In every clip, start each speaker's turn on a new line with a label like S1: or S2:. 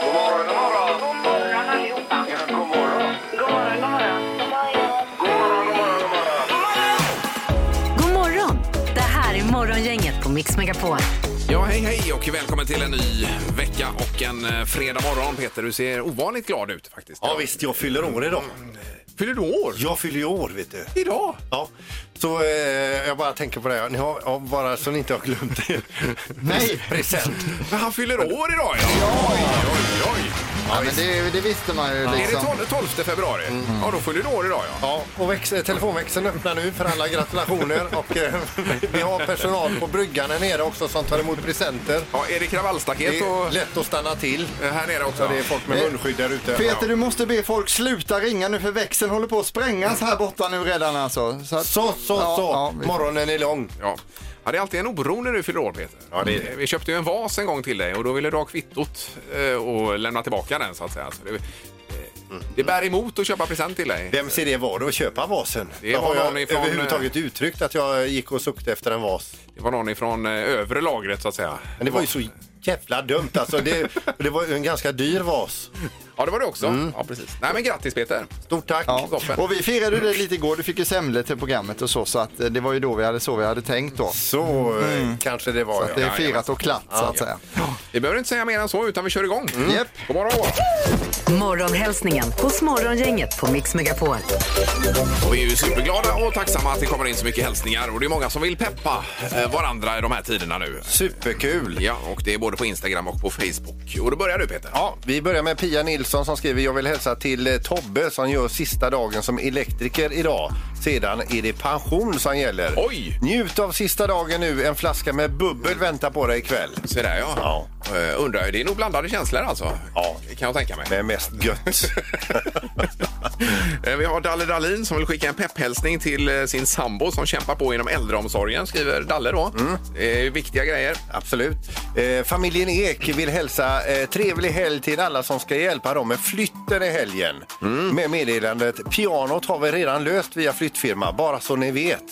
S1: God morgon, god morgon.
S2: God morgon allihopa.
S1: Ja, god morgon.
S2: God morgon, god morgon.
S1: God morgon, god morgon, god morgon.
S3: God morgon! Det här är Morgongänget på Mix Megapol.
S4: Ja, hej hej och välkommen till en ny vecka och en eh, fredag morgon. Peter, du ser ovanligt glad ut faktiskt.
S5: Ja visst, jag fyller år idag.
S4: Fyller du år?
S5: Jag fyller ju år, vet du.
S4: Idag?
S5: Ja, så eh, jag bara tänker på det här. Ni har, ja, bara så ni inte har glömt det.
S6: Nej.
S5: Present.
S4: Men han fyller år idag ja! Oj, oj, oj.
S6: Ja, men det, det visste man ju
S4: Är det
S6: liksom.
S4: 12, 12 februari?
S5: Mm.
S4: Ja, då fyller du år idag ja.
S5: Ja, och väx, telefonväxeln öppnar nu för alla gratulationer. Och eh, vi har personal på bryggan här nere också som tar emot presenter.
S4: Ja, är det
S5: Det
S4: kravallstaket
S5: är
S4: och
S5: lätt att stanna till.
S4: eh, här nere också? Eh,
S5: Så det är folk med munskydd där ute.
S6: Peter, du måste be folk sluta ringa nu för växeln håller på att sprängas här borta nu redan alltså. Så, att-
S5: Så, så, så.
S6: Ja, ja, vi-
S5: Morgonen är lång.
S4: Ja. Ja, det är alltid en oro när du fyller år, Peter.
S5: Ja, det är det.
S4: Vi köpte ju en vas en gång till dig och då ville du ha kvittot eh, och lämna tillbaka den så att säga. Så det, eh,
S5: Mm.
S4: det bär emot att köpa present till dig.
S5: Vems idé var det att köpa vasen?
S4: Det var
S5: har
S4: någon
S5: jag
S4: ifrån, eh,
S5: överhuvudtaget uttryckt att jag gick och sökte efter en vas.
S4: Det var någon ifrån eh, övre lagret så att säga.
S5: Men det var ju så jävla dumt alltså. Det, det var ju en ganska dyr vas.
S4: Ja, det var det också.
S5: Mm.
S4: Ja, precis. Nej, men grattis Peter.
S5: Stort tack.
S6: Ja.
S4: Toppen.
S6: Och vi firade det lite igår, du fick ju semlor till programmet och så, så att eh, det var ju då vi hade så vi hade tänkt då.
S5: Så eh, kanske det var.
S6: Mm. Så att det
S5: ja.
S6: är firat och klart så att säga.
S4: Vi behöver inte säga mer än så utan vi kör igång.
S5: Mm.
S6: Japp.
S4: God morgon.
S3: Morgonhälsningen hos Morgongänget på Mix Megapol.
S4: Och vi är ju superglada och tacksamma att det kommer in så mycket hälsningar och det är många som vill peppa eh, varandra i de här tiderna nu.
S5: Superkul.
S4: Ja, och det är både på Instagram och på Facebook. Och då börjar du Peter.
S5: Ja, vi börjar med Pia Nilsson som skriver Jag vill hälsa till eh, Tobbe som gör sista dagen som elektriker idag. Sedan är det pension som gäller.
S4: Oj!
S5: Njut av sista dagen nu. En flaska med bubbel väntar på dig ikväll.
S4: Så där ja. Eh, undrar, jag, det är nog blandade känslor alltså.
S5: Ja.
S4: Kan jag tänka mig.
S5: Med mest gött.
S4: Eh, Vi har Dalle Dahlin som vill skicka en pepphälsning till eh, sin sambo som kämpar på inom äldreomsorgen, skriver Dalle då.
S5: Mm.
S4: Det är viktiga grejer.
S5: Absolut. Eh, familjen Ek vill hälsa eh, trevlig helg till alla som ska hjälpa dem med flytten i helgen.
S4: Mm.
S5: Med meddelandet pianot har vi redan löst via flyttfirma, bara så ni vet.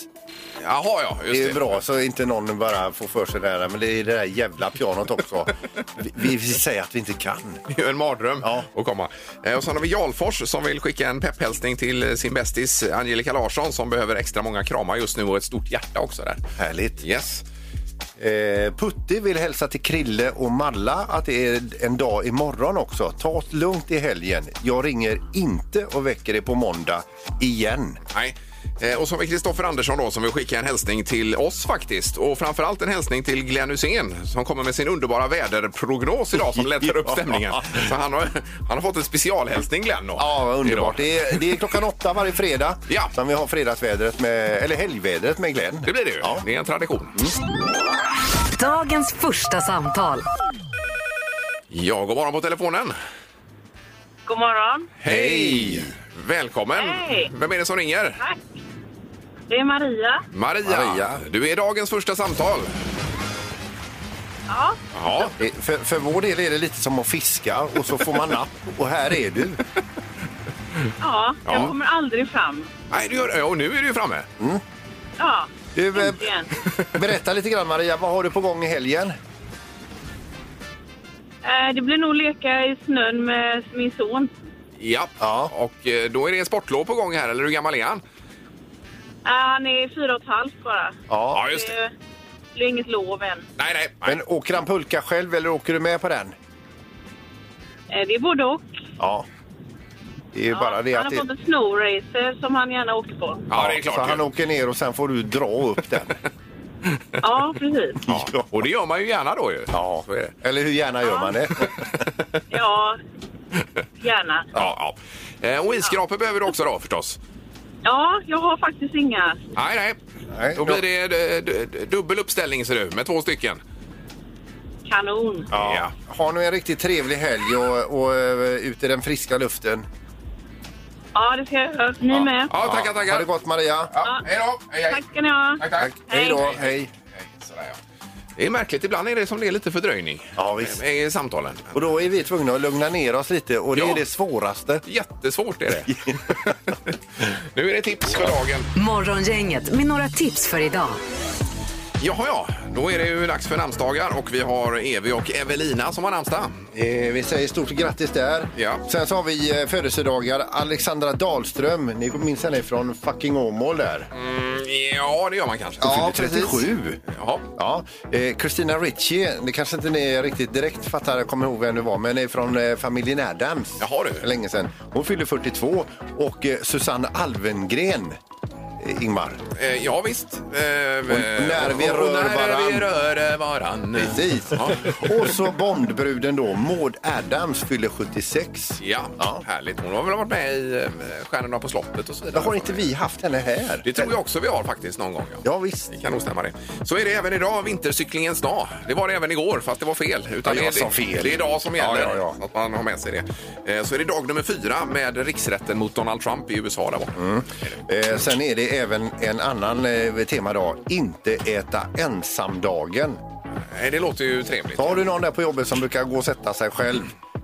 S4: Jaha ja, just
S5: Det är
S4: det.
S5: ju bra så inte någon bara får för sig det här, men det är det där jävla pianot också. vi, vi säger att vi inte kan.
S4: Det är ju en mardröm
S5: Ja.
S4: att komma. Eh, Och sen har vi Jarlfors som vill skicka en pepphälsning till eh, sin bästis Angelica Larsson som behöver extra många kramar just nu och ett stort hjärta också där.
S5: Härligt.
S4: Yes.
S5: Eh, Putti vill hälsa till Krille och Malla att det är en dag imorgon också. Ta det lugnt i helgen. Jag ringer inte och väcker er på måndag igen.
S4: Nej. Eh, Och så har vi Kristoffer Andersson då som vill skicka en hälsning till oss faktiskt. Och framförallt en hälsning till Glenn Hussein som kommer med sin underbara väderprognos idag som lättar upp stämningen. Så han har, han har fått en specialhälsning Glenn. då.
S5: Ja, vad underbart.
S4: Idag.
S5: Det är, det är klockan åtta varje fredag
S4: Ja.
S5: som vi har fredagsvädret med, eller helgvädret med Glenn.
S4: Det blir det ju.
S5: Ja. Mm.
S4: Det är en tradition.
S3: Dagens första samtal.
S4: Ja, god morgon på telefonen.
S2: God morgon.
S4: Hej! Välkommen!
S2: Hej.
S4: Vem är det som ringer?
S2: Tack. Det är Maria.
S4: Maria,
S5: Maria.
S4: du är dagens första samtal.
S2: Ja,
S4: Ja,
S5: Eh, För, för vår del är det lite som att fiska och så får man napp och här är du.
S2: ja. jag
S4: Ja.
S2: kommer aldrig fram.
S4: Nej, du gör, ja, och nu är du ju framme.
S2: Ja,
S5: du eh,
S2: äntligen.
S5: berätta lite grann Maria, vad har du på gång i helgen?
S2: Eh, Det blir nog leka i snön med min son.
S4: Ja.
S5: Ja.
S4: och eh, då är det sportlov på gång här, eller hur gammal är han?
S2: Eh, Han är fyra och ett halvt bara.
S4: Ja, just det.
S2: Det blir inget lov än.
S4: Nej, nej. nej.
S5: Men åker han pulka själv eller åker du med på den?
S2: Eh, Det är både och.
S5: Ja. Det är ju bara det
S2: han
S5: att
S2: har
S5: det...
S2: fått en snowracer som han gärna åker på.
S4: ja, det är klart.
S5: Så han åker ner och sen får du dra upp den.
S2: Ja, precis.
S4: ja. Och det gör man ju gärna då ju.
S5: Ja.
S4: Så är det.
S5: Eller hur gärna gör man det?
S2: Ja, gärna.
S4: Ja, ja. Eh, Och isskrapor behöver du också då förstås?
S2: Ja, jag har faktiskt inga.
S4: Nej, nej.
S5: Nej,
S4: Då blir det eh, d- d- dubbel uppställning ser du, med två stycken.
S2: Kanon.
S4: Ja.
S5: Ha nu en riktigt trevlig helg och, och eh, ut i den friska luften.
S2: Ja, det ska jag göra. Ni med.
S4: Ja, tackar, tackar.
S5: Ha det gott Maria.
S4: Ja, hej då. Hej, hej.
S2: Tack ska ni ha.
S4: Tack, tack.
S5: Hej då. Hej.
S4: Hej, sådär, ja. Det är märkligt, ibland är det som det är lite fördröjning
S5: Ja, visst.
S4: eh, i samtalen.
S5: Och då är vi tvungna att lugna ner oss lite och det
S4: Ja.
S5: är det svåraste.
S4: Jättesvårt är det. nu är det tips för dagen.
S3: Morgongänget med några tips för idag.
S4: Jaha, ja. Då är det ju dags för namnsdagar och vi har Evi och Evelina som har namnsdag.
S5: Eh, vi säger stort grattis där.
S4: Ja.
S5: Sen så har vi eh, födelsedagar. Alexandra Dahlström, ni minns henne från fucking Åmål där.
S4: Ja, det gör man kanske.
S5: Hon fyllde
S6: precis.
S5: 37.
S4: Jaha.
S5: Ja, eh, Christina Ricci, det kanske inte ni riktigt direkt fattar, jag kommer ihåg vem det var, men är från eh, familjen Addams.
S4: Jaha, du.
S5: Länge sedan. Hon fyllde 42 och eh, Susanne Alvengren, eh, Ingmar.
S4: Eh, ja, visst. Eh, när
S5: vi rör
S4: När vi
S5: varann.
S4: rör varann.
S5: Precis.
S4: Ja.
S5: och så Bondbruden då, Maud Adams fyllde 76.
S4: Ja,
S5: Ja.
S4: härligt. Hon har väl varit med i eh, Stjärnorna på slottet och så
S5: Då
S4: vidare.
S5: har inte vi haft henne här.
S4: Det tror jag också vi har faktiskt någon gång.
S5: Ja, visst.
S4: Det kan nog stämma det. Så är det även idag, vintercyklingens dag. Det var det även igår, fast det var fel. Utan
S5: Ja, jag
S4: det,
S5: sa fel.
S4: Det är idag som
S5: Ja, ja,
S4: gäller,
S5: ja.
S4: så att man har med sig det. Eh, Så är det dag nummer fyra med riksrätten mot Donald Trump i USA där borta.
S5: Eh, sen är det även en annan eh, temadag, inte äta ensamdagen.
S4: Eh, Det låter ju trevligt.
S5: Så har du någon där på jobbet som brukar gå och sätta sig själv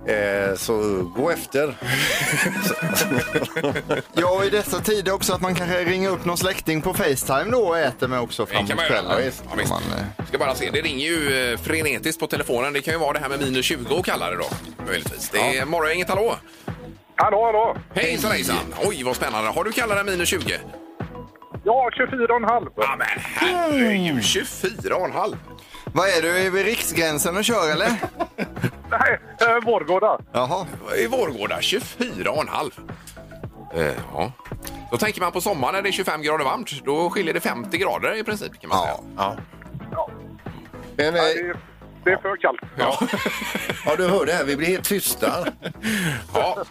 S5: eh, så gå efter.
S6: Ja, och i dessa tider också att man kanske ringer upp någon släkting på Facetime då och äter med också
S4: Det
S6: framåt
S4: kan man göra.
S6: kvällen.
S4: Ja, visst. Ja,
S6: Om
S4: visst.
S6: man, eh,
S4: Ska bara se, det ringer ju eh, frenetiskt på telefonen. Det kan ju vara det här med minus 20 och kalla det då, möjligtvis. Det är morgongänget, hallå!
S1: Hallå, hallå.
S4: Hejsan hejsan! Oj, vad spännande. Har du kallat det minus 20?
S1: Ja, 24,5.
S4: Ja, men herregud, 24,5!
S6: Vad är du, är vi riksgränsen och kör eller?
S1: Nej, eh, Vårgårda.
S6: Jaha.
S4: i Vårgårda, 24,5. Eh, ja. Då tänker man på sommaren när det är 25 grader varmt. Då skiljer det 50 grader i princip kan man säga.
S5: Ja. ja. Men, eh,
S1: Nej, det, är- det är för kallt.
S4: Ja.
S5: ja, du hörde här, vi blir helt tysta.
S4: ja.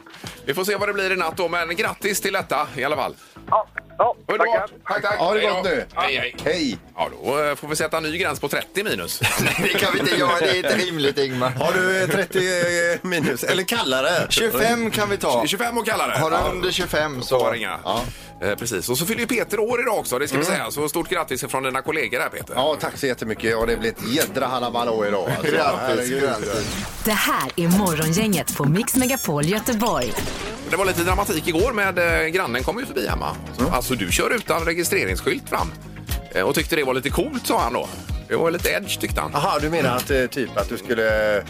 S4: Vi får se vad det blir i natt då, men grattis till detta i alla fall.
S1: Ja, ja
S4: Underbart!
S1: tackar.
S4: Tack, tack!
S5: Ha det
S4: Hej
S5: gott
S4: då.
S5: nu.
S4: Hej, hej!
S5: Hej!
S4: Ja, då eh, får vi sätta en ny gräns på 30 minus.
S6: Det kan vi inte göra, det är inte rimligt Ingmar.
S5: Har du eh, 30 eh, minus, eller kallare?
S6: 25 kan vi ta.
S4: 25 och kallare.
S6: Har du under 25
S4: så
S6: så...
S4: var det inga. Eh, precis. Och så fyller ju Peter år idag också, det ska vi säga. Så stort grattis från dina kollegor här Peter.
S5: Ja, tack så jättemycket. Ja, det blir ett jädra halabaloo idag. Alltså.
S6: Grattis,
S5: Herregud.
S6: grattis.
S3: Det här är Morgongänget på Mix Megapol Göteborg.
S4: Det var lite dramatik igår med eh, grannen kom ju förbi hemma. Alltså du kör utan registreringsskylt fram. Eh, Och tyckte det var lite coolt sa han då. Det var lite edge tyckte han.
S5: Aha, du menar att eh, typ att du skulle eh,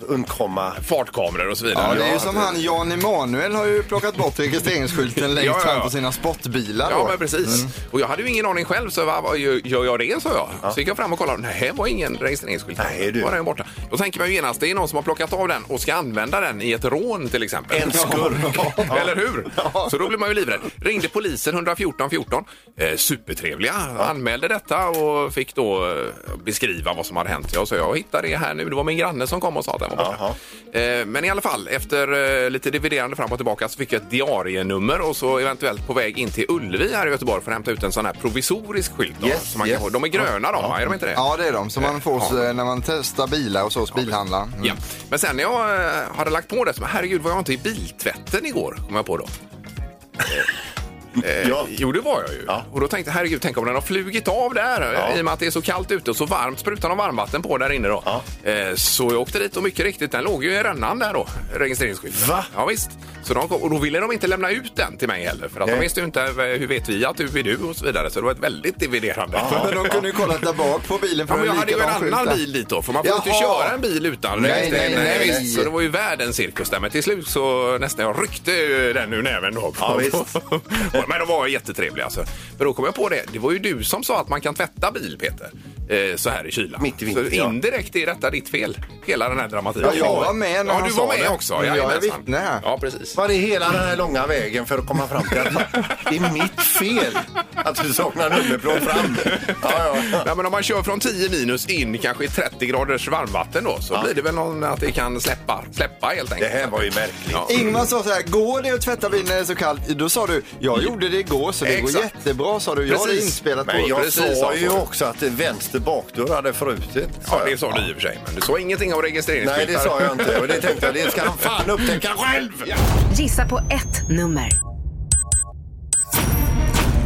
S5: undkomma
S4: Fartkameror och så vidare.
S6: Ja, det är ju som han Jan Emanuel har ju plockat bort registreringsskylten längst
S4: Ja, ja, ja.
S6: fram på sina sportbilar.
S4: Ja,
S6: då.
S4: men precis.
S5: Mm.
S4: Och jag hade ju ingen aning själv, så vad- vad gör gör jag det? sa jag. Så gick jag fram och kollade. Nej, det var ingen registreringsskylt.
S5: Nej, du.
S4: Var den borta. Då tänker man ju genast, det är någon som har plockat av den och ska använda den i ett rån till exempel.
S5: En skurk.
S4: Ja, Eller hur? Så då blir man ju livrädd. Ringde polisen 114 14. Eh, supertrevliga. Anmälde detta och fick då eh, beskriva vad som hade hänt. Jag sa jag hittade det här nu. Det var min granne som kom och sa att den var borta. Eh, men i alla fall, efter eh, lite dividerande fram och tillbaka så fick jag ett diarienummer och så eventuellt på väg in till Ullevi här i Göteborg för att hämta ut en sån här provisorisk skylt. Då,
S5: Yes,
S4: som man
S5: yes.
S4: kan få. De är gröna de, va? är de inte det?
S6: Ja, det är de som man får
S4: Ja.
S6: så- eh, när man testar bilar och så hos bilhandlaren. Mm.
S4: Ja. Men sen när jag eh, hade lagt på det, så herregud var jag inte i biltvätten igår? Kom jag på då.
S5: Ja.
S4: Eh, Jo, det var jag ju.
S5: Ja.
S4: Och då tänkte jag, herregud, tänk om den har flugit av där.
S5: Ja.
S4: I och med att det är så kallt ute och så varmt sprutar de varmvatten på där inne då.
S5: Ja.
S4: Eh, Så jag åkte dit och mycket riktigt, den låg ju i rännan där då, registreringsskylten.
S5: Va?
S4: Ja, visst. Så de kom, och då ville de inte lämna ut den till mig heller. För att de
S5: Nej.
S4: visste ju inte, eh, hur vet vi att du är du och så vidare. Så det var ett väldigt dividerande.
S6: Men de kunde ju kolla där bak på bilen för
S4: Ja, men jag
S6: att
S4: hade ju en
S6: likadan
S4: annan
S6: skylt där.
S4: bil dit då, för man får
S6: Jaha.
S4: inte köra en bil utan
S6: Nej,
S4: registrering.
S6: nej, nej,
S4: visst.
S6: nej.
S4: Så det var ju världens cirkus där. Men till slut så nästan jag ryckte ju den ur näven då.
S5: Ja, visst.
S4: men de var jättetrevliga alltså. Men då kom jag på det, det var ju du som sa att man kan tvätta bil Peter. Eh, så här i kylan.
S5: Mitt i vintern,
S4: så
S5: ja.
S4: indirekt är detta ditt fel. Hela den här dramatiken.
S6: Ja, jag var med när
S4: Ja,
S6: han
S4: du var
S6: sa
S4: med
S6: det.
S4: också.
S6: Men jag är
S4: Jajamensan.
S6: vittne här.
S4: Ja, precis.
S5: Var är hela den här långa vägen för att komma fram till att det är mitt fel att du saknar nummerplåt fram? Ja, ja.
S4: Nej, men om man kör från 10 minus in kanske i 30 graders varmvatten då så
S5: Ja.
S4: blir det väl någon att det kan släppa, släppa helt
S5: Det
S4: enkelt.
S5: här var ju märkligt.
S4: Ja.
S6: Ingmar sa så här, går det att tvätta bilen när det är så kallt? Då sa du, jag gjorde det igår så det går
S4: Exakt.
S6: jättebra sa du. Jag har det
S4: Precis.
S6: inspelat på.
S5: Men jag
S4: Precis,
S5: sa
S4: alltså.
S5: ju också att vänster bakdörr hade frutit.
S4: Ja, det
S5: jag.
S4: sa du i och för sig. Men du sa ingenting om
S5: Nej,
S4: registreringsskyltar.
S5: det sa jag inte. Och det tänkte jag, det ska han fan upptäcka själv!
S3: Gissa på ett nummer.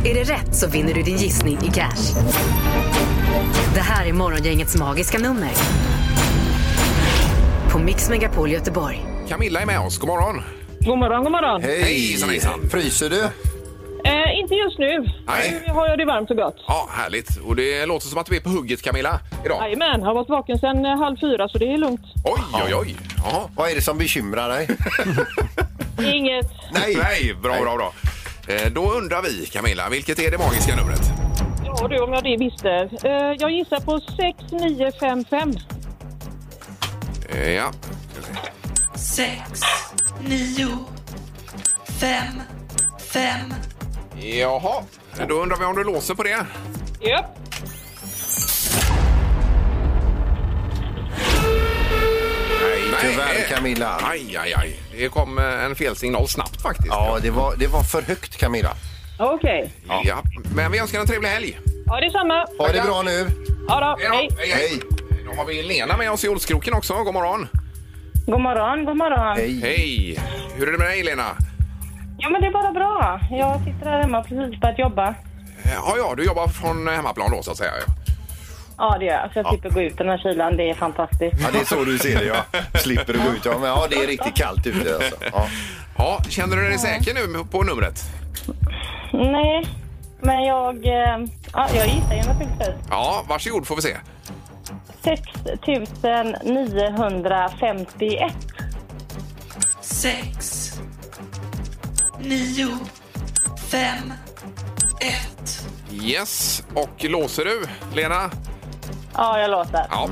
S3: Är det rätt så vinner du din gissning i cash. Det här är Morgongängets magiska nummer. På Mix Megapol Göteborg.
S4: Camilla är med oss. God morgon!
S2: God morgon, god morgon.
S4: Hejsan, hejsan.
S5: Fryser du?
S2: Eh,
S7: Eh, inte just nu.
S4: Nej.
S7: Nu har jag det varmt och gott.
S4: Ja, härligt. Och det låter som att du är på hugget Camilla idag.
S7: Jajamän, har varit vaken sedan eh, halv fyra så det är lugnt.
S4: Oj, oj, oj. Ja.
S5: Vad är det som bekymrar dig?
S7: Inget.
S4: Nej. bra, bra, bra. Eh, Då undrar vi Camilla, vilket är det magiska numret?
S7: Ja du, om jag det visste. Eh, jag gissar på 6955.
S4: Eh, Ja,
S8: sex, nio, fem, fem.
S4: Jaha, då undrar vi om du låser på det.
S7: Japp.
S4: Nej,
S5: tyvärr, Camilla.
S4: Aj, aj, aj. Det kom eh, en felsignal snabbt faktiskt.
S5: Ja, det var, det var för högt Camilla.
S7: Okej.
S4: Ja. Men vi önskar en trevlig helg.
S7: Ja, det är samma.
S5: Ha det bra nu.
S7: Ja, då.
S4: då.
S7: Hej.
S5: Hej.
S4: Då har vi Lena med oss i Olskroken också. God morgon.
S7: God morgon, god morgon.
S5: Hej.
S4: Hej! Hur är det med dig Lena?
S7: Ja, men det är bara bra. Jag sitter här hemma precis på att jobba.
S4: Eh, Ja, ja, du jobbar från hemmaplan då så att säga.
S7: Ja, det gör jag. Så jag slipper gå ut den här kylan. Det är fantastiskt.
S5: Ja, det är så du ser det ja. Slipper du gå ut. Ja, men, ja det är riktigt kallt ute alltså. Ja.
S4: Ja, känner du dig säker nu på numret?
S7: Nej, men jag... eh, Ja, jag gissar ju naturligtvis.
S4: Ja, varsågod får vi se.
S7: 6951.
S8: Sex, nio, fem, ett.
S4: Yes, och låser du Lena?
S7: Ja, jag låter.
S4: Ja.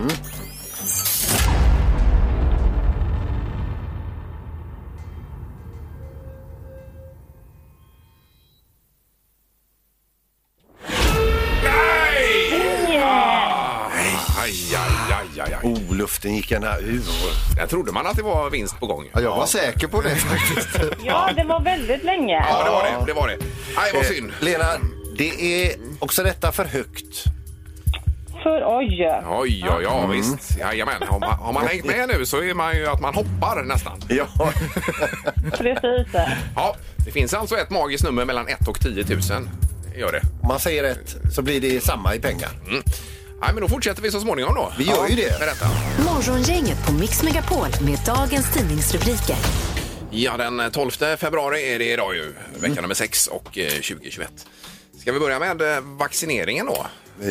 S4: Nej! Ah, Aj, aj, aj, aj, aj.
S5: Oh, luften gick gärna ur.
S4: Där trodde man att det var vinst på gång.
S6: Ja, jag var säker på det faktiskt.
S7: Ja, det var väldigt länge.
S4: Ja, det var det. det, var det. Aj, vad synd.
S5: Eh, Lena, det är också detta för högt.
S7: För oj.
S4: Oj, ja, ja, visst. Jajamän. Har man, har man hängt med nu så är man ju att man hoppar nästan.
S5: Ja.
S7: Precis.
S4: Ja, det finns alltså ett magiskt nummer mellan 1 och 10 000. Gör det.
S5: Om man säger rätt så blir det samma i pengar.
S4: Mm. Nej, men då fortsätter vi så småningom då.
S5: Vi gör ju det.
S4: Med detta.
S3: Morgongänget på Mix Megapol med dagens tidningsrubriker.
S4: Ja, den 12 februari är det idag ju. Vecka
S5: Mm.
S4: nummer 6 och eh, 2021. Ska vi börja med eh, vaccineringen då?
S5: Eh,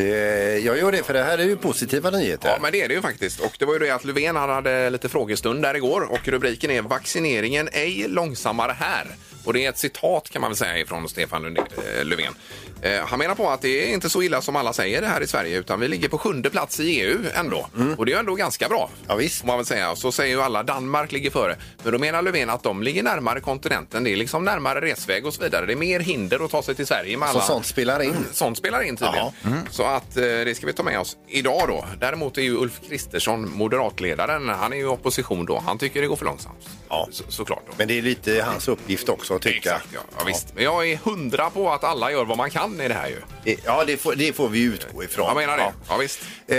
S5: Jag gör det för det här är ju positiva nyheter.
S4: Ja, men det är det ju faktiskt. Och det var ju det att Löfven han hade lite frågestund där igår och rubriken är vaccineringen ej långsammare här. Och det är ett citat kan man väl säga ifrån Stefan Lund- eh, Löfven. Eh, Han menar på att det är inte så illa som alla säger det här i Sverige utan vi ligger på sjunde plats i EU ändå. Och det är ju ändå ganska bra.
S5: Mm. Ja, visst.
S4: Får man väl säga. Så säger ju alla Danmark ligger före. Men då menar Löfven att de ligger närmare kontinenten. Det är liksom närmare resväg och så vidare. Det är mer hinder att ta sig till Sverige med alla
S5: Så Alltså, sånt spelar in.
S4: sånt spelar in tydligen.
S5: Ja.
S4: Så att eh, det ska vi ta med oss idag då. Däremot är ju Ulf Kristersson, moderatledaren, han är ju i opposition då. Han tycker det går för långsamt.
S5: Ja.
S4: Så, såklart. Då.
S5: Men det är lite hans uppgift också att tycka.
S4: Exakt, ja. ja visst. Men jag är hundra på att alla gör vad man kan i det här ju.
S5: Eh, Ja, det får, det får vi utgå ifrån.
S4: Jag menar det. Ja,
S5: Ja.
S4: visst.
S5: Eh,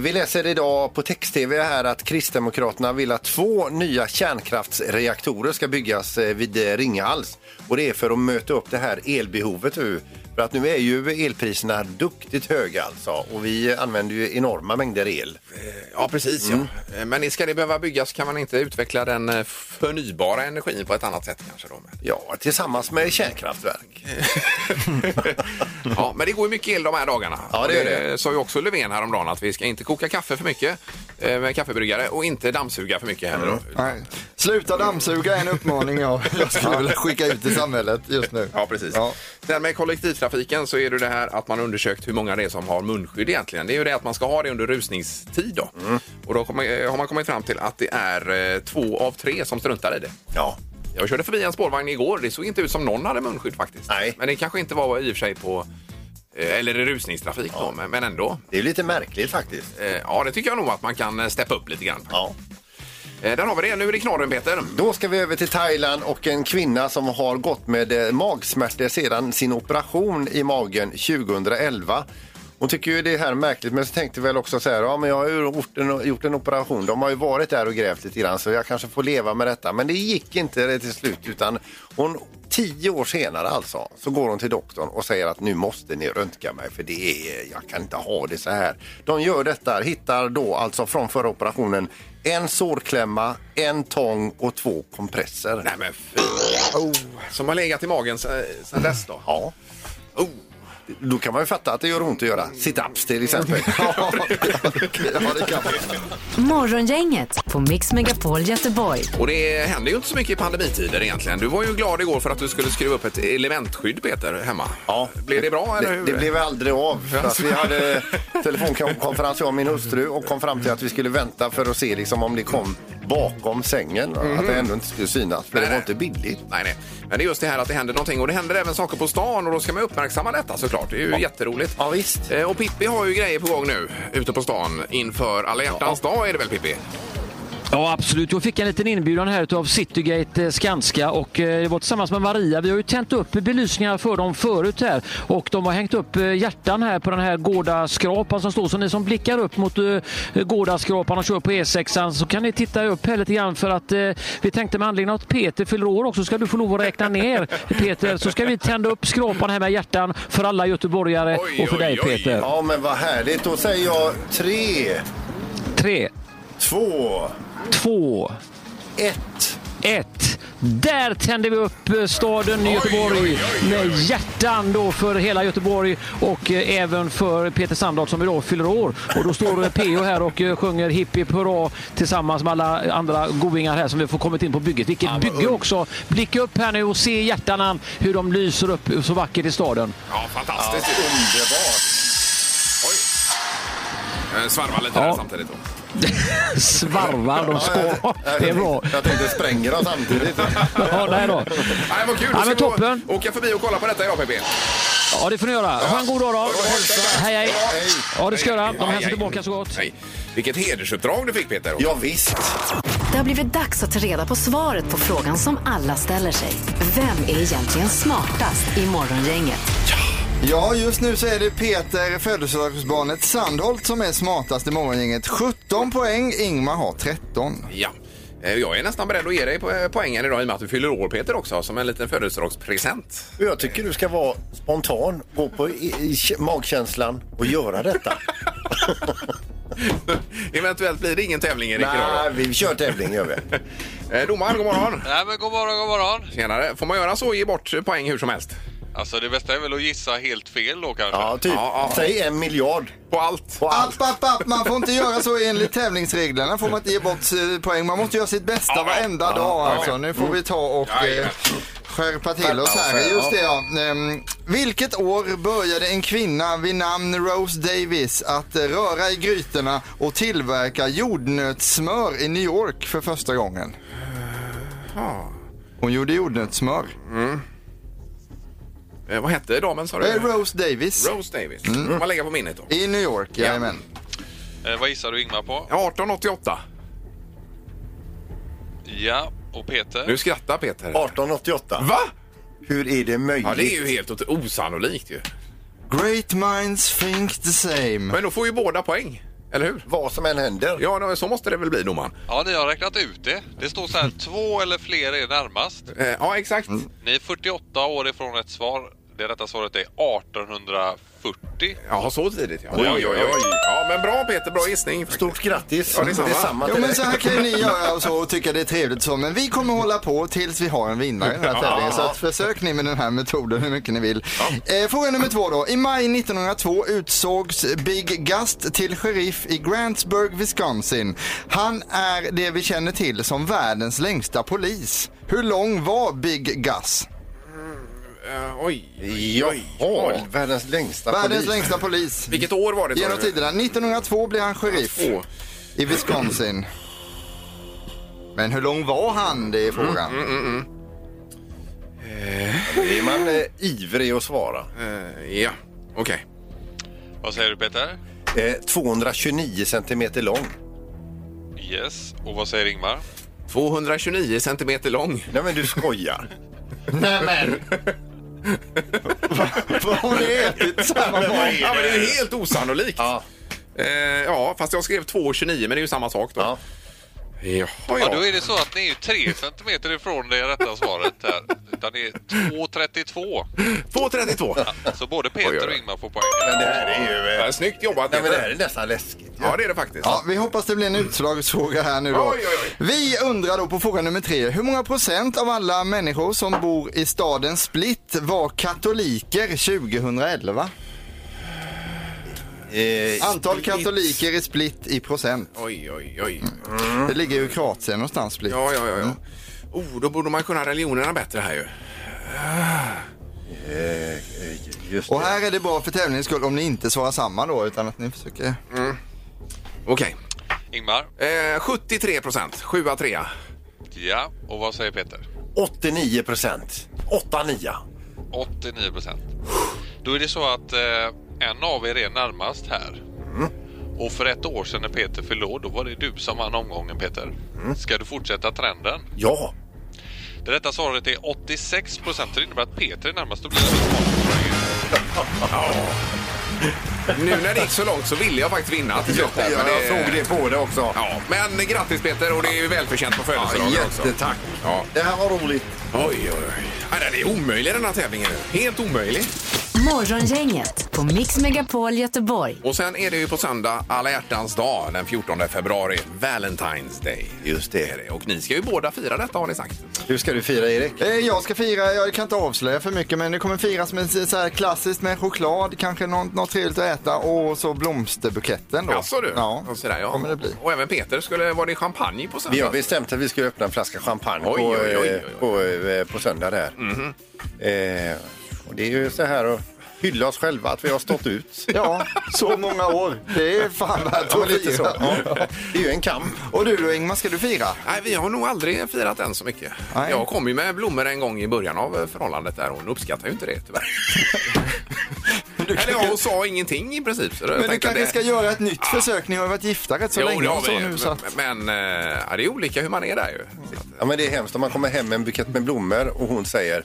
S5: vi läser idag på text-tv här att Kristdemokraterna vill att två nya kärnkraftsreaktorer ska byggas eh, vid eh, Ringhals. Och det är för att möta upp det här elbehovet nu. För att nu är ju elpriserna duktigt höga alltså och vi använder ju enorma mängder el.
S4: Ja, precis. Ja. Eh, Men ska det behöva byggas kan man inte utveckla den eh, förnybara energin på ett annat sätt kanske då?
S5: Ja, tillsammans med kärnkraftverk.
S4: ja, men det går ju mycket el de här dagarna. eh,
S5: Ja, det gör det.
S4: sa ju också Löfven häromdagen att vi ska inte koka kaffe för mycket eh, med kaffebryggare och inte dammsuga för mycket heller.
S5: Mm.
S4: då.
S6: Nej. Sluta dammsuga är en uppmaning jag, jag skulle vilja skicka ut i samhället just nu.
S4: Ja, precis.
S6: Ja.
S4: Sen med kollektivtrafiken så är det det här att man har undersökt hur många det är som har munskydd egentligen. Det är ju det att man ska ha det under rusningstid då.
S5: Mm.
S4: Och då kommer, har man kommit fram till att det är eh, två av tre som struntar i det.
S5: Ja.
S4: Jag körde förbi en spårvagn igår. Det såg inte ut som någon hade munskydd faktiskt.
S5: Nej.
S4: Men det kanske inte var i och för sig på eh, eller i rusningstrafik då, men, men ändå.
S5: Det är lite märkligt faktiskt.
S4: Eh, Ja, det tycker jag nog att man kan eh, steppa upp lite grann.
S5: Ja.
S4: Eh, Där har vi det. Nu är det knorren, Peter.
S5: Då ska vi över till Thailand och en kvinna som har gått med eh, magsmärtor sedan sin operation i magen 2011. Hon tycker ju det här är märkligt men så tänkte väl också så här, ja men jag har ju gjort en, gjort en operation, de har ju varit där och grävt lite grann så jag kanske får leva med detta. Men det gick inte till slut utan hon, tio år senare alltså, så går hon till doktorn och säger att nu måste ni röntga mig för det är, jag kan inte ha det så här. De gör detta, hittar då alltså från förra operationen en sårklämma, en tång och två kompresser.
S4: Nej, men fy. Oh, som har legat i magen sen sen dess då?
S5: Ja. Oh. Då kan man ju fatta att det gör ont att göra sit-ups till exempel.
S6: Ja, det kan man.
S3: Morgongänget på Mix Megapol Göteborg.
S4: Och det händer ju inte så mycket i pandemitider egentligen. Du var ju glad igår för att du skulle skruva upp ett elementskydd Peter hemma.
S5: Ja.
S4: Blev det bra eller
S5: Det,
S4: hur?
S5: det blev aldrig av. För att vi hade telefonkonferens jag och min hustru och kom fram till att vi skulle vänta för att se liksom om det kom bakom sängen. Att det ändå inte skulle synas. För det
S4: Nej,
S5: var
S4: nej.
S5: inte billigt.
S4: Nej, nej. Men det är just det här att det händer någonting och det händer även saker på stan och då ska man uppmärksamma detta såklart. Det är ju jätteroligt.
S5: Ja, visst.
S4: Eh, Och Pippi har ju grejer på gång nu ute på stan inför alla hjärtans dag är det väl Pippi?
S9: Ja, absolut. Jag fick en liten inbjudan här utav Citygate eh, Skanska och eh, det var tillsammans med Maria. Vi har ju tänt upp belysningar för dem förut här och de har hängt upp eh, hjärtan här på den här Gårdaskrapan som står. Så ni som blickar upp mot eh, Gårdaskrapan och kör på E6 så kan ni titta upp här lite grann för att eh, vi tänkte med anledning av att Peter fyller år också ska du få lov att räkna ner Peter så ska vi tända upp skrapan här med hjärtan för alla göteborgare
S4: Oj,
S9: och för
S4: oj,
S9: dig
S4: oj.
S9: Peter.
S5: Ja, men vad härligt. Då säger jag tre,
S9: Tre,
S5: två,
S9: två,
S5: ett.
S9: ett. Där tände vi upp eh, staden Göteborg med hjärtan då för hela Göteborg och eh, även för Peter Sandahl som idag fyller år. Och då står eh, PO här och eh, sjunger Hipp hipp hurra tillsammans med alla andra goingar här som vi får kommit in på bygget. Vilket bygge också! Blicka upp här nu och se hjärtan hur de lyser upp så vackert i staden.
S4: Ja, fantastiskt. Underbart. Oj. Eh, Svarva lite
S9: Ja.
S4: där samtidigt. Då.
S9: Svarvar de ska.
S5: Jag
S9: Det är bra.
S5: tänkte- Jag tänkte spränga dem samtidigt.
S9: Ja, nej då.
S4: Nej, vad kul! Då
S9: Ja, men
S4: ska vi å-
S9: toppen.
S4: åka förbi och kolla på detta idag Pippi.
S9: Ja, det får ni göra. Ha en god dag då. Hej, hej. Ja, det ska jag göra.
S4: Hej,
S9: De
S4: hej.
S9: hälsar tillbaka så gott.
S4: Hej. Vilket hedersuppdrag du fick Peter.
S5: Ja, visst.
S3: Det har blivit dags att ta reda på svaret på frågan som alla ställer sig. Vem är egentligen smartast i Morgongänget?
S6: Ja, just nu så är det Peter, födelsedagsbarnet Sandholt, som är smartast i morgongänget. 17 poäng, Ingmar har 13.
S4: Ja. Eh, Jag är nästan beredd att ge dig po- eh, poängen idag i och med att du fyller år Peter också som en liten födelsedagspresent.
S5: Jag tycker du ska vara spontan, gå på i, i, k- magkänslan och göra detta.
S4: Eventuellt blir det ingen tävling Erik idag
S5: Nej, vi kör tävling gör vi.
S4: då. Eh, Domaren, god morgon!
S10: Nej men god morgon, god morgon.
S4: Tjenare! Får man göra så? Ge bort eh, poäng hur som helst?
S10: Alltså det bästa är väl att gissa helt fel då kanske.
S5: Ja, typ.
S4: Ja, ja.
S5: Säg en miljard.
S4: På allt?
S5: På allt.
S6: App, app, app. Man får inte göra så enligt tävlingsreglerna. får man inte ge bort eh, poäng. Man måste göra sitt bästa
S4: Ja, ja.
S6: varenda dag. Alltså. Nu får vi ta och eh,
S4: Jajamän.
S6: skärpa till oss
S5: oss
S6: här.
S5: här,
S6: Just det, ja. Ehm, Vilket år började en kvinna vid namn Rose Davis att eh, röra i grytorna och tillverka jordnötssmör i New York för första gången?
S4: Ah.
S6: Hon gjorde jordnötssmör.
S4: Eh, vad hette damen sa
S6: Eh,
S4: du?
S6: Rose Davis.
S4: Rose Davis. Mm. Man lägger på minnet då.
S6: I New York,
S4: Ja.
S6: jajamän.
S10: Eh, vad gissar du Ingmar på?
S4: 1888.
S10: Ja, och Peter?
S4: Nu skrattar Peter.
S5: 1888.
S4: Va?
S5: Hur är det möjligt?
S4: Ja, det är ju helt ot- osannolikt ju.
S6: Great minds think the same.
S4: Men då får ju båda poäng. Eller hur?
S5: Vad som än händer.
S4: Ja, då- så måste det väl bli domaren.
S10: Ja, ni har räknat ut det. Det står så här, två eller fler är närmast.
S4: Eh, ja, exakt.
S6: Mm.
S10: Ni är 48 år ifrån ett svar. Det rätta svaret är 1840.
S4: Ja, så tidigt ja. Ja, men bra Peter, bra gissning.
S5: Stort grattis.
S4: Ja, detsamma.
S6: Jo
S5: till
S6: men
S5: dig.
S6: så här kan ju ni göra och så och tycka det är trevligt så men vi kommer hålla på tills vi har en vinnare i den här tävlingen så att försök ni med den här metoden hur mycket ni vill. Eh, fråga nummer två då. I maj 1902 utsågs Big Gust till sheriff i Grantsburg, Wisconsin. Han är det vi känner till som världens längsta polis. Hur lång var Big Gus?
S4: Eh, oj.
S5: Jaha, världens längsta
S6: Världens
S5: polis.
S6: längsta polis.
S4: Vilket år var det? sa
S6: Genom
S4: du?
S6: tiderna. 1902 blev han sheriff
S4: Två.
S6: i Wisconsin. Men hur lång var han? Det är frågan.
S5: Är man eh, ivrig att svara?
S4: Eh, ja, okej.
S10: Vad säger du Peter?
S5: Eh, 229 centimeter lång.
S10: Yes. Och vad säger Ingmar?
S4: 229 centimeter lång.
S5: Nej men du skojar.
S6: Vad har ni ätit samma dag?
S4: Ja, men det är helt osannolikt. ja. Eh, ja, fast jag skrev 2,29 men det är ju samma sak då.
S5: Ja.
S4: Jaha,
S10: Ja, då är det så att ni är ju 3 centimeter ifrån det rätta svaret här. utan det är 2.32.
S4: 2.32.
S10: Så både
S4: Oj, oj,
S10: Peter
S4: oj.
S10: och Ingmar får poäng.
S5: Men det här är ju... eh,
S4: Ja, snyggt jobbat
S5: Nej, men det här
S4: Peter.
S5: är nästan läskigt.
S4: Ja, det är det faktiskt.
S6: Ja, vi hoppas det blir en utslagsfråga här nu då.
S4: Oj, oj,
S6: Vi undrar då på fråga nummer tre. Hur många procent av alla människor som bor i staden Split var katoliker 2011?
S5: Eh,
S6: Antal katoliker i Split i procent.
S4: Oj, oj, oj.
S6: Det ligger ju i Kroatien någonstans Split.
S4: Mm.
S6: Mm.
S4: Ja, ja, ja. ja. Oh, då borde man kunna religionerna bättre här ju.
S5: Just
S6: Och
S5: det.
S6: här är det bra för tävlingens skull om ni inte svarar samma då utan att ni försöker.
S4: Okej.
S10: Ingmar?
S4: Eh, 73 procent. 7 3
S10: Ja. Och vad säger Peter?
S5: 89 procent. 8-9.
S10: 89 procent. Då är det så att eh, en av er är närmast här. Och för ett år sedan när Peter fyllde år, då var det du som vann omgången Peter. Ska du fortsätta trenden?
S5: Ja.
S10: Det rätta svaret är 86 procent. Det innebär att Peter är närmast. Då blir det
S4: Nu när det gick så långt så ville jag faktiskt vinna till slut. här, men
S5: jag såg det på det också.
S4: Ja, men grattis Peter och det är ju välförtjänt på födelsedagen också.
S5: jättetack.
S4: Ja.
S5: Det här var roligt.
S4: Oj, oj, oj. Nej, Den är omöjlig den här tävlingen. Helt omöjlig.
S3: Morgongänget på Mix Megapol Göteborg.
S4: Och sen är det ju på söndag alla hjärtans dag den 14 februari, Valentine's Day. Just det. Och ni ska ju båda fira detta har ni sagt.
S5: Hur ska du fira, Erik?
S6: Eh, Jag ska fira, jag kan inte avslöja för mycket men det kommer firas med så här klassiskt med choklad, kanske något, något trevligt att äta och så blomsterbuketten då.
S4: Jaså Alltså, du?
S6: Ja,
S4: Och, sådär, ja.
S6: kommer det bli.
S4: och även Peter, skulle var det champagne på söndag?
S5: Vi har bestämt att vi ska öppna en flaska champagne
S4: Oj,
S5: på,
S4: oj, oj,
S5: eh,
S4: oj.
S5: På, eh, på söndag där. Eh, och det är ju så här att hylla oss själva att vi har stått ut.
S6: Ja, så många år. Det är fan värt
S5: Ja,
S6: att
S5: men lite så.
S6: fira.
S5: Ja. Det är ju en kamp.
S6: Och du då Ingmar, ska du fira?
S4: Nej, vi har nog aldrig firat än så mycket.
S6: Nej.
S4: Jag kom ju med blommor en gång i början av eh, förhållandet där och hon uppskattar ju inte det tyvärr. Eller ja, hon sa ingenting i princip. Så
S6: Men du kanske ska göra ett nytt försök? Ni har ju varit gifta rätt så
S4: så jo,
S6: länge.
S4: det har
S6: och så
S4: vi
S6: nu,
S4: ju.
S6: så att...
S4: Men eh, ja, det är olika hur man är där ju. Så att,
S5: Ja, men det är hemskt om man kommer hem med en bukett med blommor och hon säger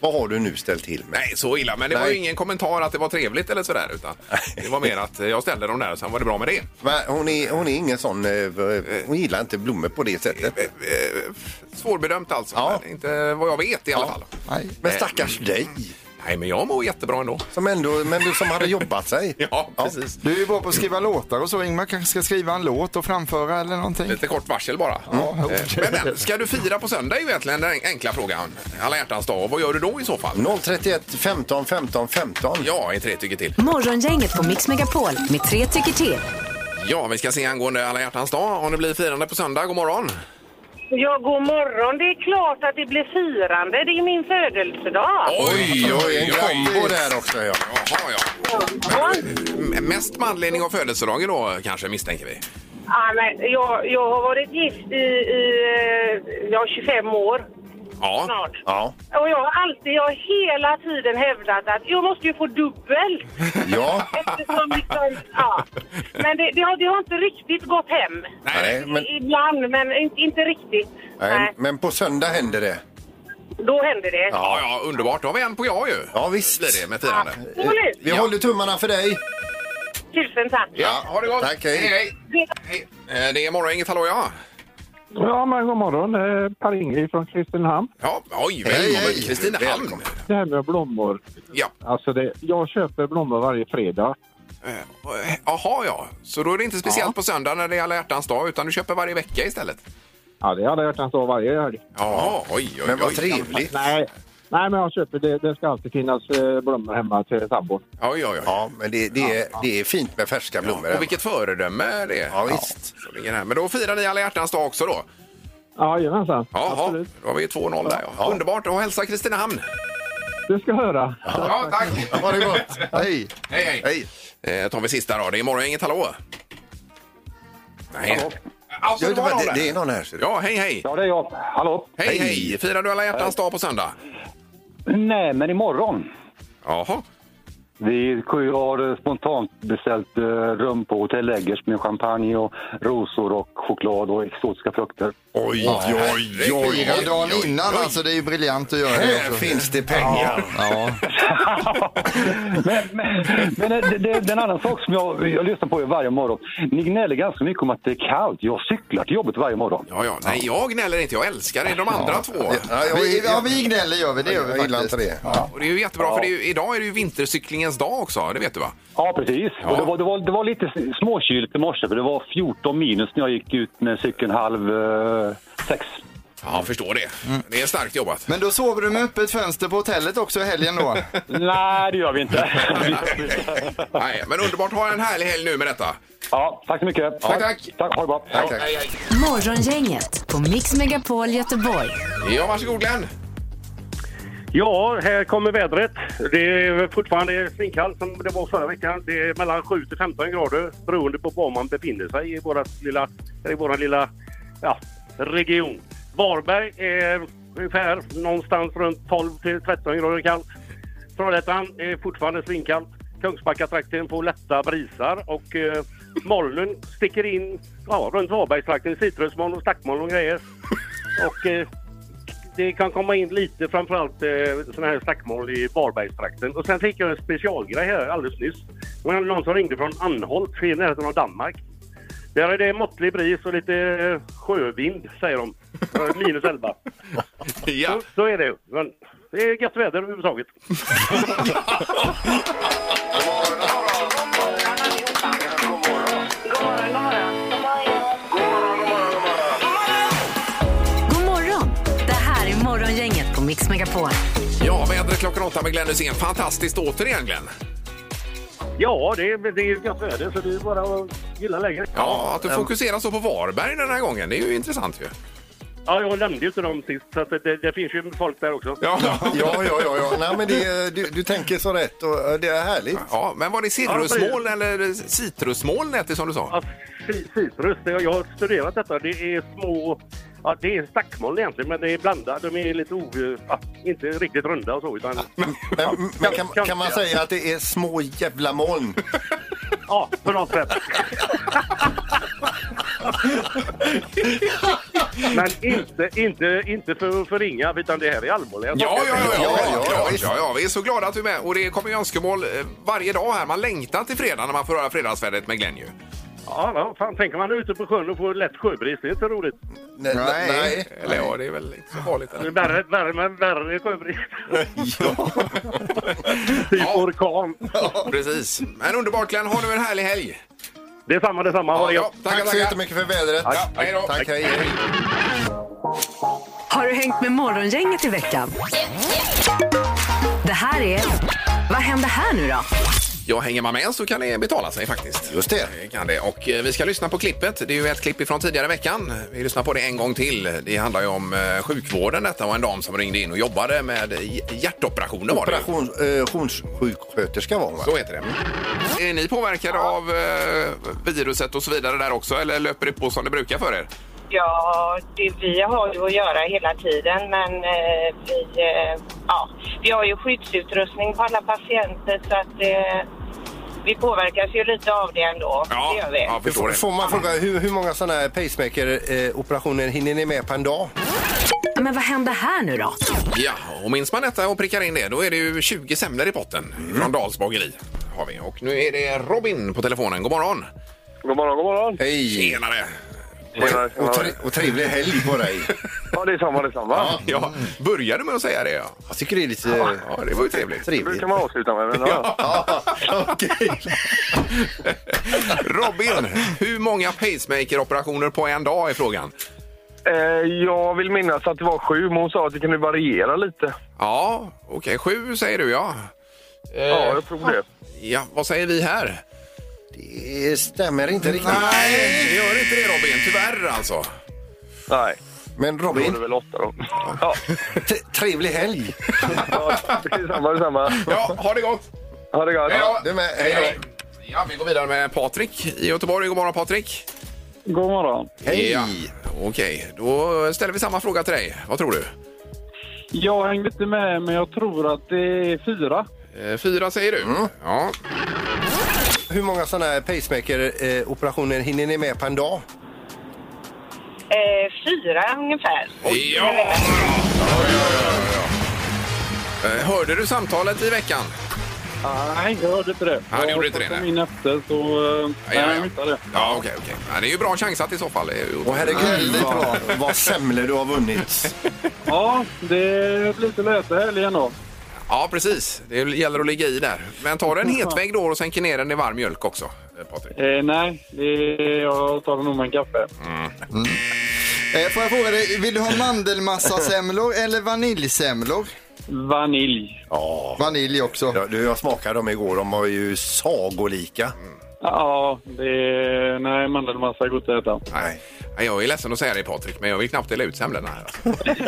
S5: Vad har du nu ställt till med?
S4: Nej, så illa. Men det var ju
S5: Nej.
S4: ingen kommentar att det var trevligt eller sådär. Utan det var mer att eh, jag ställde dem där och sen var det bra med det.
S5: Men hon, är, hon är ingen sån, eh, v- hon gillar inte blommor på det sättet.
S4: Eh, eh, Svårbedömt alltså.
S5: Ja.
S4: Men inte vad jag vet i alla fall.
S6: Nej.
S5: Men stackars dig,
S4: Nej, men jag mår jättebra ändå.
S5: som ändå, men du som hade jobbat sig.
S4: Ja, precis.
S6: Du är ju bra på att skriva låtar och så. Ingmar kanske ska skriva en låt och framföra eller någonting.
S4: Lite kort varsel bara.
S6: Ja,
S4: Eh, Men, men ska du fira på söndag är ju egentligen den enkla frågan. Alla hjärtans dag. Och Vad gör du då i så fall?
S5: 031 15 15 15.
S4: Ja, en tre tycker till.
S3: Morgongänget på Mix Megapol med tre tycker till.
S4: Ja, vi ska se angående alla hjärtans dag om det blir firande på söndag. God morgon!
S2: Ja, god morgon. Det är klart att det blir firande. Det är min födelsedag.
S4: Oj,
S5: Oj, en kombo där också. Ja.
S4: Jaha, ja.
S2: Ja.
S4: M- Mest med anledning av födelsedagen då kanske misstänker vi.
S2: Ja, men jag, jag har varit gift i, i eh, ja, 25 år
S4: Ja.
S2: snart.
S5: Ja.
S2: Och jag har alltid, jag har hela tiden hävdat att jag måste ju få dubbel.
S5: ja.
S2: Eftersom liksom, ja. Men det, det, har, det har inte riktigt gått hem.
S5: Nej, men,
S2: Ibland, men inte, inte riktigt.
S5: nej,
S2: Nej.
S5: men på söndag händer det.
S2: Då händer det.
S4: Ja, ja, underbart. Då har vi en på ja ju.
S5: Ja, visst.
S4: Blir det med firande.
S2: Roligt.
S5: Vi håller tummarna för dig.
S2: Tusen tack.
S4: Ja, ha det gott!
S5: Tack, hej.
S4: Hej, hej. Eh, Det är morgon, inget hallå ja.
S1: Ja, men god morgon. Eh, Per-Inge från Kristinehamn.
S4: Ja, oj,
S5: Hej,
S4: välkommen
S5: hej.
S4: Kristinehamn.
S5: Välkommen.
S1: Det här med blommor.
S4: Ja.
S1: Alltså, det, jag köper blommor varje fredag.
S4: Eh, Jaha, ja. Så då är det inte speciellt på söndag när det är alla hjärtans dag utan du köper varje vecka istället?
S1: Ja, det hade jag hjärtans dag varje helg.
S4: Ja, oj, oj, oj.
S5: Men vad trevligt.
S1: Nej, nej, men jag köper det. Det ska alltid finnas eh, blommor hemma till sambon.
S4: Oj, oj, oj.
S5: Ja, men det, det, är, det är fint med färska blommor.
S4: Och vilket föredöme det är.
S5: Ja, visst.
S4: Så ligger det här. Men då firar ni alla hjärtans dag också då?
S1: Ja, Jajamensan,
S4: Jaha,
S1: absolut.
S4: då har vi 2-0 där ja. Underbart, och hälsa Kristinehamn.
S1: Du ska höra.
S4: Ja, tack.
S5: Ha det gott. Hej.
S4: Hej, hej.
S5: Hej.
S4: Eh, tar vi sista då. Det är morgon, inget hallå? Nej. Alltså,
S5: Ja, det,
S4: var någon
S5: var, det,
S4: där.
S5: det är någon här. ser du.
S4: Ja, hej, hej.
S1: Ja, det är jag. Hallå?
S4: Hej, hej. Firar du alla hjärtans dag på söndag?
S1: Nej, men imorgon.
S4: Jaha.
S11: Vi har eh, spontant beställt eh, rum på Hotell Eggers med champagne och rosor och choklad och exotiska frukter.
S5: Oj,
S6: oj, Fyra dagen innan alltså, det är ju briljant att göra det.
S5: Här finns det pengar.
S6: Ja.
S11: Men eh, det, det, det är en annan sak som jag, jag lyssnar på er varje morgon. Ni gnäller ganska mycket om att det är kallt. Jag cyklar till jobbet varje morgon.
S4: Ja, ja. Nej, jag gnäller inte. Jag älskar det. De andra två.
S6: Vi, ja, vi gnäller gör vi, det gör vi
S5: Jag gillar
S6: faktiskt.
S5: inte det.
S6: Ja.
S4: Och det är ju jättebra, för det är ju, idag är det ju vintercyklingens dag också. Det vet du, va?
S11: Ja, precis. Och det, var, det, var, det var lite småkyligt i morse, för det var 14 minus när jag gick ut med cykeln halv eh, sex.
S4: Ja, jag förstår det. Det är starkt jobbat.
S6: Men då sover du med öppet fönster på hotellet också i helgen då?
S11: Nej, det gör vi inte.
S4: Nej, men underbart. Ha en härlig helg nu med detta.
S11: ja, tack så mycket.
S4: Tack, tack.
S11: tack ha det bra.
S4: Ja, hej, hej.
S3: Morgongänget på Mix Megapol Göteborg.
S4: Ja, varsågod Glenn.
S12: Ja, här kommer vädret. Det är fortfarande svinkallt som det var förra veckan. Det är mellan 7 till 15 grader beroende på var man befinner sig i vårat lilla, i våran lilla ja, region. Varberg är ungefär någonstans runt 12 till 13 grader kallt. Trollhättan är fortfarande svinkallt. Kungsbackatrakten får lätta brisar och eh, molnen sticker in ja, runt Varbergstrakten. Citrusmoln och stackmoln och grejer. Och, eh, det kan komma in lite framförallt eh, sådana här slagsmål i Varbergstrakten. Och sen fick jag en specialgrej här alldeles nyss. Det var någon som ringde från Anholt, i närheten av Danmark. Där är det måttlig bris och lite eh, sjövind, säger de. Eh, Minus 11.
S4: Ja.
S12: så, så är det. Men det är gött väder överhuvudtaget.
S3: God morgon! Det här är Morgongänget på Mix Megapol.
S4: Ja, vädret klockan åtta med Glenn Hysén. Fantastiskt återigen, Glenn.
S12: Ja, det är, det är gött väder så det är bara att gilla läget.
S4: Ja, att du fokuserar så på Varberg den här gången, det är ju intressant ju.
S12: Ja, jag nämnde ju inte dem sist så att det, det finns ju folk där också.
S5: Ja, ja, ja. ja. Nej, men det, du, du tänker så rätt och eh, det är härligt.
S4: Ja, men var det cirrusmoln eller citrusmoln hette det som du sa?
S12: Ci- citrus. det- Jag har studerat detta. Det är små... Ja, det är stackmoln egentligen, men det är blandat. De är lite o... Ja, inte riktigt runda och så, utan...
S5: Men, men kan, kan man säga att det är små jävla moln?
S12: Ja, på något sätt. Men inte, inte, inte för att förringa, utan det här är allvarliga
S4: Ja, ja, ja, ja, ja, ja,
S5: visst.
S4: ja, ja, vi är så glada att du är med. Och det kommer ju önskemål eh, varje dag här. Man längtar till fredag när man får höra fredagsvädret med Glenn ju.
S12: ja, ja. Fan, tänker man ute på sjön och får lätt sjöbris, det är inte roligt.
S5: Nej. nej.
S4: Eller ja, det är väl inte så farligt.
S12: Det är
S4: eller?
S12: värre, värre, men värre sjöbris.
S5: Ja.
S12: Typ orkan.
S4: Precis. Men underbart Glenn, ha nu en härlig helg.
S12: Detsamma, detsamma. Ha det gött.
S5: Tack så jättemycket för vädret.
S4: Ja, hej då.
S5: Tack, hej. hej.
S3: Har du hängt med Morgongänget i veckan? Det här är... Vad händer här nu då?
S4: Ja, hänger man med så kan det betala sig faktiskt.
S5: Just det.
S4: Det Kan det. Och eh, vi ska lyssna på klippet. Det är ju ett klipp från tidigare veckan. Vi lyssnar på det en gång till. Det handlar ju om eh, sjukvården detta och en dam som ringde in och jobbade med hj- hjärtoperationer var det ju.
S5: Operation- eh, Operationssjuksköterska var hon, va?
S4: Så heter det. Är ni påverkade av eh, viruset och så vidare där också eller löper det på som det brukar för er?
S7: Ja, det, vi har ju att göra hela tiden men eh, vi, eh, ja, vi har ju skyddsutrustning på alla patienter så att eh, vi påverkas ju lite av det ändå. det gör vi.
S4: ja förstår det.
S5: Får man fråga hur, hur många sådana här pacemaker-operationer hinner ni med på en dag?
S3: Men vad händer här nu då?
S4: Ja, och minns man detta och prickar in det då är det ju 20 semlor i potten från Dals bageri. Har vi. Och nu är det Robin på telefonen. God morgon!
S11: God morgon, god morgon.
S5: Hej!
S4: Tjenare!
S5: Och, tre, och trevlig helg på dig.
S11: Ja, det är samma, det är samma.
S4: Ja, ja. Började med att säga det ja.
S5: Jag tycker det är lite eh,
S4: Ja, det var ju trevligt.
S11: Det
S5: trevligt.
S11: brukar man avsluta med. Men, ja.
S5: Ja, okej.
S4: Robin, hur många pacemaker-operationer på en dag är frågan?
S11: Eh, jag vill minnas att det var sju, men hon sa att det kunde variera lite.
S4: Ja, okej, sju säger du ja. Eh,
S11: Ja, jag tror det.
S4: Ja, vad säger vi här?
S5: Det stämmer inte riktigt.
S4: Nej, gör inte det Robin. Tyvärr alltså.
S11: Nej,
S5: Men
S11: då är det
S5: Robin,
S11: väl åtta då. Ja,
S5: t- trevlig helg.
S11: ja det är samma, det är samma.
S4: Ja, ha det gott!
S11: Ha det gott.
S4: Ja,
S5: Du med.
S4: Hej då. Ja, vi går vidare med Patrik i Göteborg. God morgon Patrik!
S11: God morgon.
S5: Hej.
S4: Ja. Okej, då ställer vi samma fråga till dig. Vad tror du?
S11: Jag hängde inte med, men jag tror att det är fyra.
S4: Eh, Fyra säger du?
S5: Mm.
S4: Ja.
S5: Hur många sådana här pacemaker-operationer hinner ni med på en dag?
S7: Eh, fyra ungefär.
S4: Ja! Eh, Hörde du samtalet i veckan?
S12: Nej, jag hörde inte det.
S4: Ja, du gjorde inte det,
S12: Jag kom
S4: nej.
S12: in efter så... eh, Nej,
S4: ja,
S12: jag
S4: ja.
S12: missade det.
S4: Ja, okej, okej. Ja, det är ju bra chansat i så fall. Det är ju-
S5: Åh herregud,
S4: Ja,
S5: vad, vad semlor du har vunnit.
S12: Ja, det blir lite lösa helgen då.
S4: Ja, precis. Det gäller att ligga i där. Men tar du
S5: Mm.
S4: en hetvägg då och sänker ner den i varm mjölk också, eh, Patrik?
S12: Eh, nej, det- jag tar nog med en kaffe.
S6: Eh, får jag fråga dig, vill du ha mandelmassasemlor eller vaniljsemlor?
S12: Vanilj.
S5: Ja,
S6: Vanilj också.
S5: Ja, du, jag smakade dem igår. De var ju sagolika.
S12: Ja, det... Nej, mandelmassa är gott att äta.
S4: Nej. Nej, Jag är ledsen att säga det Patrik, men jag vill knappt dela ut semlorna här. alltså.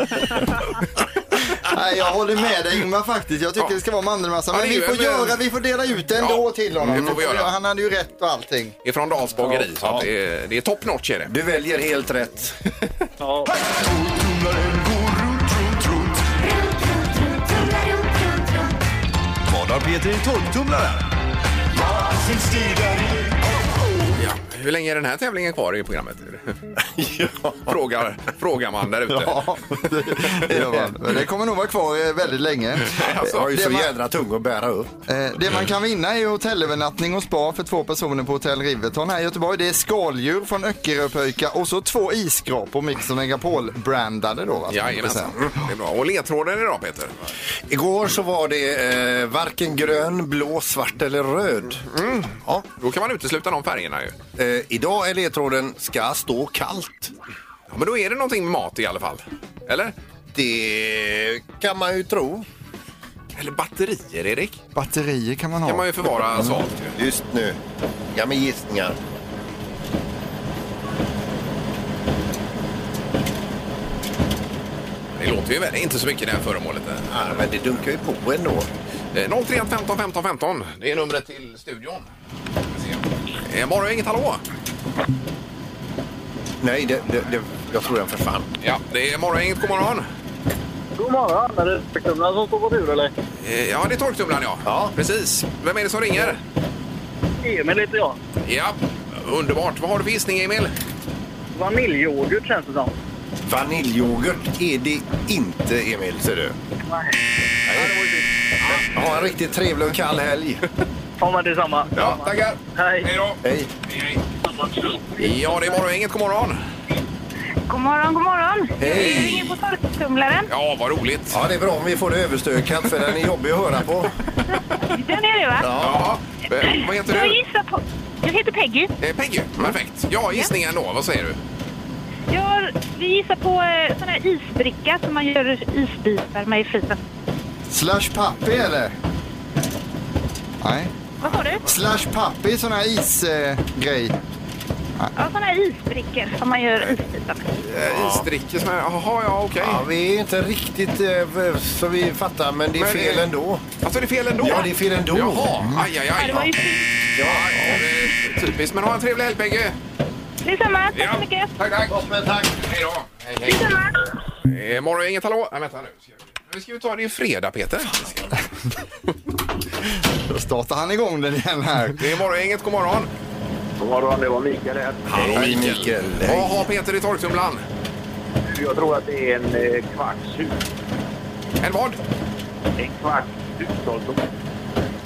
S6: Nej, jag håller med dig Ingmar faktiskt. Jag tycker
S4: Ja.
S6: det ska vara mandelmassa.
S4: Ja,
S6: Men
S4: det är
S6: vi
S4: ju
S6: får,
S4: en-
S6: göra, vi får dela ut den
S4: Ja,
S6: då till honom.
S4: det får vi göra.
S6: Han hade ju rätt och allting.
S4: Det är från Dals bageri, så att det, är, det är top notch är det.
S5: Du väljer helt rätt.
S12: Ja,
S13: Vad har Peter i torktumlaren?
S4: Ja. Hur länge är den här tävlingen kvar i programmet? frågar, frågar man där ute.
S6: Ja, det, det gör man. Men det kommer nog vara kvar eh, väldigt länge.
S5: Alltså, jag har ju
S6: det
S5: så
S6: var-
S5: jädra tung att bära upp.
S6: Eh, Det man kan vinna är ju hotellövernattning och spa för två personer på Hotell Riverton här i Göteborg. Det är skaldjur från Öckeröpöjka och så två isskrapor Mix Megapol-brandade då. va, som man får säga.
S4: Jajamensan. Mm, Det är bra. Och ledtråden idag Peter?
S5: Igår så var det eh, varken grön, blå, svart eller röd. Ja.
S4: Då kan man utesluta de färgerna ju.
S5: Eh, idag är ledtråden ska stå kallt.
S4: Ja, men då är det någonting med mat i alla fall. Eller?
S5: Det kan man ju tro.
S4: Eller batterier, Erik?
S6: Batterier kan man ha.
S4: kan man ju förvara svalt ju.
S5: Just nu. Ja, med gissningar.
S4: Det låter ju väl inte så mycket det här föremålet.
S5: Ja, men det dunkar ju på ändå.
S4: Eh, 031 15 15 15. Det är numret till studion. Ska vi se. Eh, Morgon, inget hallå?
S5: Nej, det, det, det, jag tror den försvann.
S4: Ja, det är morgon, inget god morgon.
S12: God morgon! Är det torktumlaren som står på tur eller?
S4: Eh, Ja, det är torktumlaren ja.
S5: Ja.
S4: Precis. Vem är det som ringer?
S12: Emil heter jag.
S4: Ja, underbart. Vad har du för gissning, Emil?
S12: Vaniljyoghurt känns det som.
S5: Vaniljyoghurt är det inte, Emil, ser du. Nej. Ha en riktigt trevlig och kall helg.
S12: Ja, men detsamma.
S4: Ja, tackar.
S12: Hej.
S4: Hej då.
S5: Hej.
S4: Hej, hej. Ja, det är morgon, inget god morgon.
S7: God morgon, god morgon.
S5: Hej.
S7: Du ringer på torktumlaren.
S4: Ja, vad roligt.
S5: Ja, det är bra om vi får det överstökat för den är jobbig att höra på.
S7: Den är du va?
S4: Ja. Eh, Vad heter
S7: Jag
S4: du?
S7: gissar på... Jag heter Peggy.
S4: Eh, Peggy. Perfekt. Ja, gissningen då. Vad säger du?
S7: Jag, vi gissar på eh, sån här isbricka som man gör isbitar med i frysen.
S6: Slash pappi eller? Nej.
S7: Vad sa du?
S6: Slash pappi, sån här eh, isgrej.
S7: Ja, såna här isbrickor som man gör isbitar med.
S4: Ja. Isdricke Eh, som är... Jaha, ja, okej.
S5: Ja, vi är inte riktigt eh, så vi fattar, men det är
S4: Men det-
S5: fel ändå.
S4: Alltså, det är fel ändå?
S5: Ja, det är fel ändå.
S4: Jaha, aj, aj, aj.
S7: Det var ju
S4: Ja, eh, typiskt. Men ha en trevlig helg, Peggy.
S7: Detsamma, tack
S4: Ja.
S7: så mycket.
S4: Tack, tack. Toppen, tack. Hej då. Hej,
S7: Detsamma.
S4: hej. Eh, morgon, inget hallå. Nej, vänta nu. Ska vi- Nu ska vi ta det är fredag, Peter.
S6: Då startar han igång den igen här.
S4: Det är morgon, inget god morgon.
S12: God morgon, det var Mikael här.
S4: Hallå,
S5: Hej, Mikael. Hej.
S4: Vad har Peter i torktumlaren?
S12: Jag tror att det är en eh, kvarts
S4: En vad?
S12: En kvarts hushållsdom.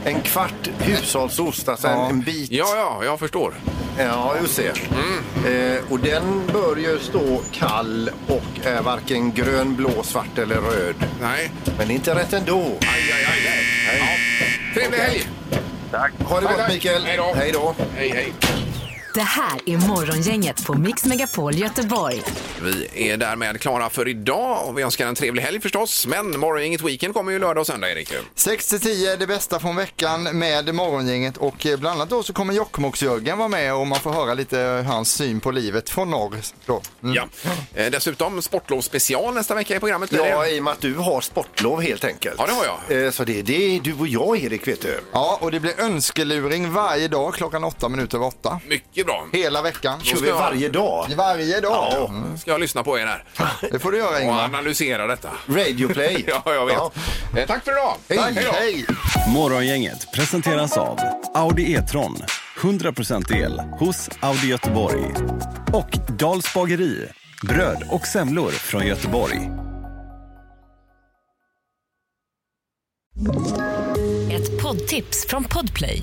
S5: En kvart hushållsost, alltså en, en bit.
S4: Ja, ja, jag förstår.
S5: Ja, just det.
S4: Mm.
S5: Eh, och den bör ju stå kall och är varken grön, blå, svart eller röd.
S4: Nej.
S5: Men det är inte rätt ändå.
S4: Aj, aj, aj. aj. Ja. Trevlig helg.
S5: Ha det
S4: Tack,
S5: gott,
S4: tack.
S5: Mikael.
S4: Hej då.
S5: Hej då.
S4: Hej, hej.
S3: Det här är Morgongänget på Mix Megapol Göteborg.
S4: Vi är därmed klara för idag och vi önskar en trevlig helg förstås. Men morgongänget Weekend kommer ju lördag och söndag, Erik.
S6: 6 till 10 det bästa från veckan med Morgongänget och eh, bland annat då så kommer Jokkmokks-Jörgen vara med och man får höra lite eh, hans syn på livet från norr. Då. Mm.
S4: Ja. Eh, Dessutom sportlov special nästa vecka i programmet. blir
S5: Ja,
S4: det.
S5: i och med att du har sportlov helt enkelt.
S4: Ja, det har jag.
S5: Eh, Så det, det är du och jag, Erik, vet du.
S6: Ja, och det blir önskeluring varje dag klockan åtta minuter över åtta.
S4: Mycket mycket bra.
S6: Hela veckan.
S4: Kör vi varje
S14: dag?
S6: Varje dag.
S4: Ja, ska jag lyssna på er här.
S6: Det får du göra Ingmar.
S4: Och analysera detta.
S14: Radio Play.
S4: ja, jag vet. Eh, Tack för idag.
S6: Hej.
S4: då.
S6: Hej.
S13: Morgongänget presenteras av Audi E-tron. 100% el hos Audi Göteborg. Och Dals bageri. Bröd och semlor från Göteborg.
S15: Ett poddtips från Podplay.